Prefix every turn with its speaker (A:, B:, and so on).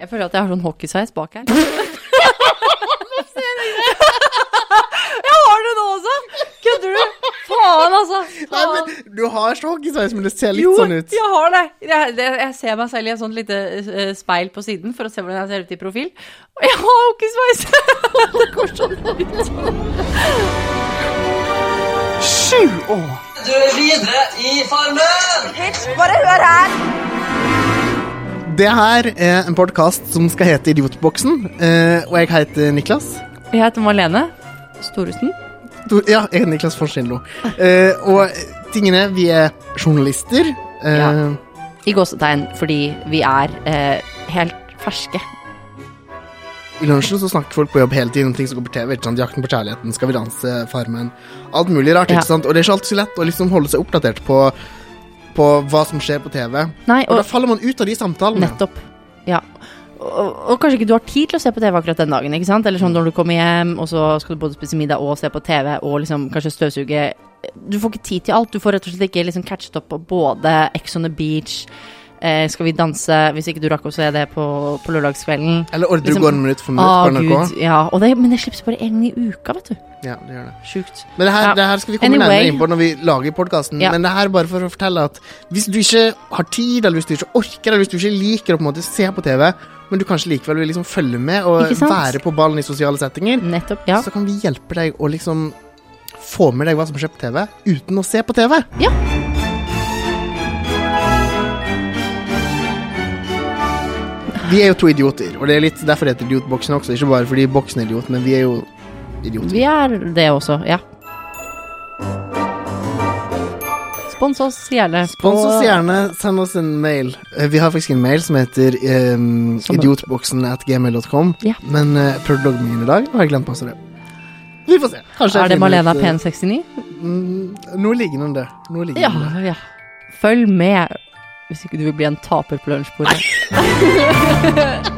A: Jeg føler at jeg har sånn hockeysveis bak her. jeg har det nå også! Kødder du? Faen, altså.
B: Nei, men du har ikke hockeysveis, men det ser litt
A: jo,
B: sånn ut.
A: jeg har det. Jeg, det. jeg ser meg selv i et sånt lite eh, speil på siden for å se hvordan jeg ser ut i profil. Og jeg har hockeysveis! det går sånn ut.
B: Sju år!
C: Du er videre i Farmen!
B: Det her er en podkast som skal hete Idiotboksen, eh, og jeg heter Niklas.
A: Jeg heter Malene Storesen.
B: Du- Ja, jeg er Niklas Forsinlo. Eh, og tingene Vi er journalister. Eh,
A: Ja. I gåsetegn, fordi vi er eh, helt ferske.
B: I lunsjen så snakker folk på jobb hele tiden om ting som går på TV. ikke sant? Jakten på kjærligheten, Skal vi danse, Farmen. Alt mulig rart.
A: Ja.
B: ikke sant? Og det er ikke alltid så lett å liksom holde seg oppdatert på, på hva som skjer på TV.
A: Nei,
B: Og da
A: og
B: faller man ut av de samtalene.
A: Nettopp. Ja. Og, og kanskje ikke du har tid til å se på TV akkurat den dagen. ikke sant? Eller sånn når du kommer hjem, og så skal du både spise middag og se på TV, og liksom kanskje støvsuge Du får ikke tid til alt. Du får rett og slett ikke liksom catchet opp på både Ex on the Beach, eh, Skal vi danse, hvis ikke du rakk å se det på, på lørdagskvelden.
B: Eller ordre
A: Liksom-
B: går minutt for minutt
A: Ah,
B: på NRK.
A: Gud, ja. Og det, men det slippes bare én gang i uka, vet du.
B: Ja, det gjør det.
A: Sjukt.
B: Men det her,
A: Ja.
B: det her skal vi komme
A: Anyway.
B: nærmere inn på når vi lager podkasten.
A: Ja.
B: Men det her bare for å fortelle at hvis du ikke har tid, eller hvis du ikke orker, eller hvis du ikke liker å på en måte se på TV, men du kanskje likevel vil liksom følge med og
A: Ikke sant?
B: være på ballen i sosiale settinger,
A: Nettopp. Ja.
B: så kan vi hjelpe deg å liksom få med deg hva som skjer på TV, uten å se på TV.
A: ja.
B: Vi er jo to idioter, og det er litt derfor det heter Idiotboksen også. Ikke bare fordi boksen er idiot, men vi er jo idioter.
A: Vi er det også, ja. Spons oss gjerne.
B: Spons oss
A: på-
B: gjerne, send oss en mail. Eh, Vi har faktisk en mail som heter um,
A: Som-
B: idiotboksen at gmail.com.
A: Ja.
B: Men uh, prøveloggen min i dag har jeg glemt passordet. Vi får se. Kanskje jeg
A: Er det
B: finner
A: Malena
B: ut, eh,
A: Pen69?
B: Mm, noe lignende om det. Noe lignende.
A: Ja, ja. Følg med hvis ikke du vil bli en taper på lunsjbordet.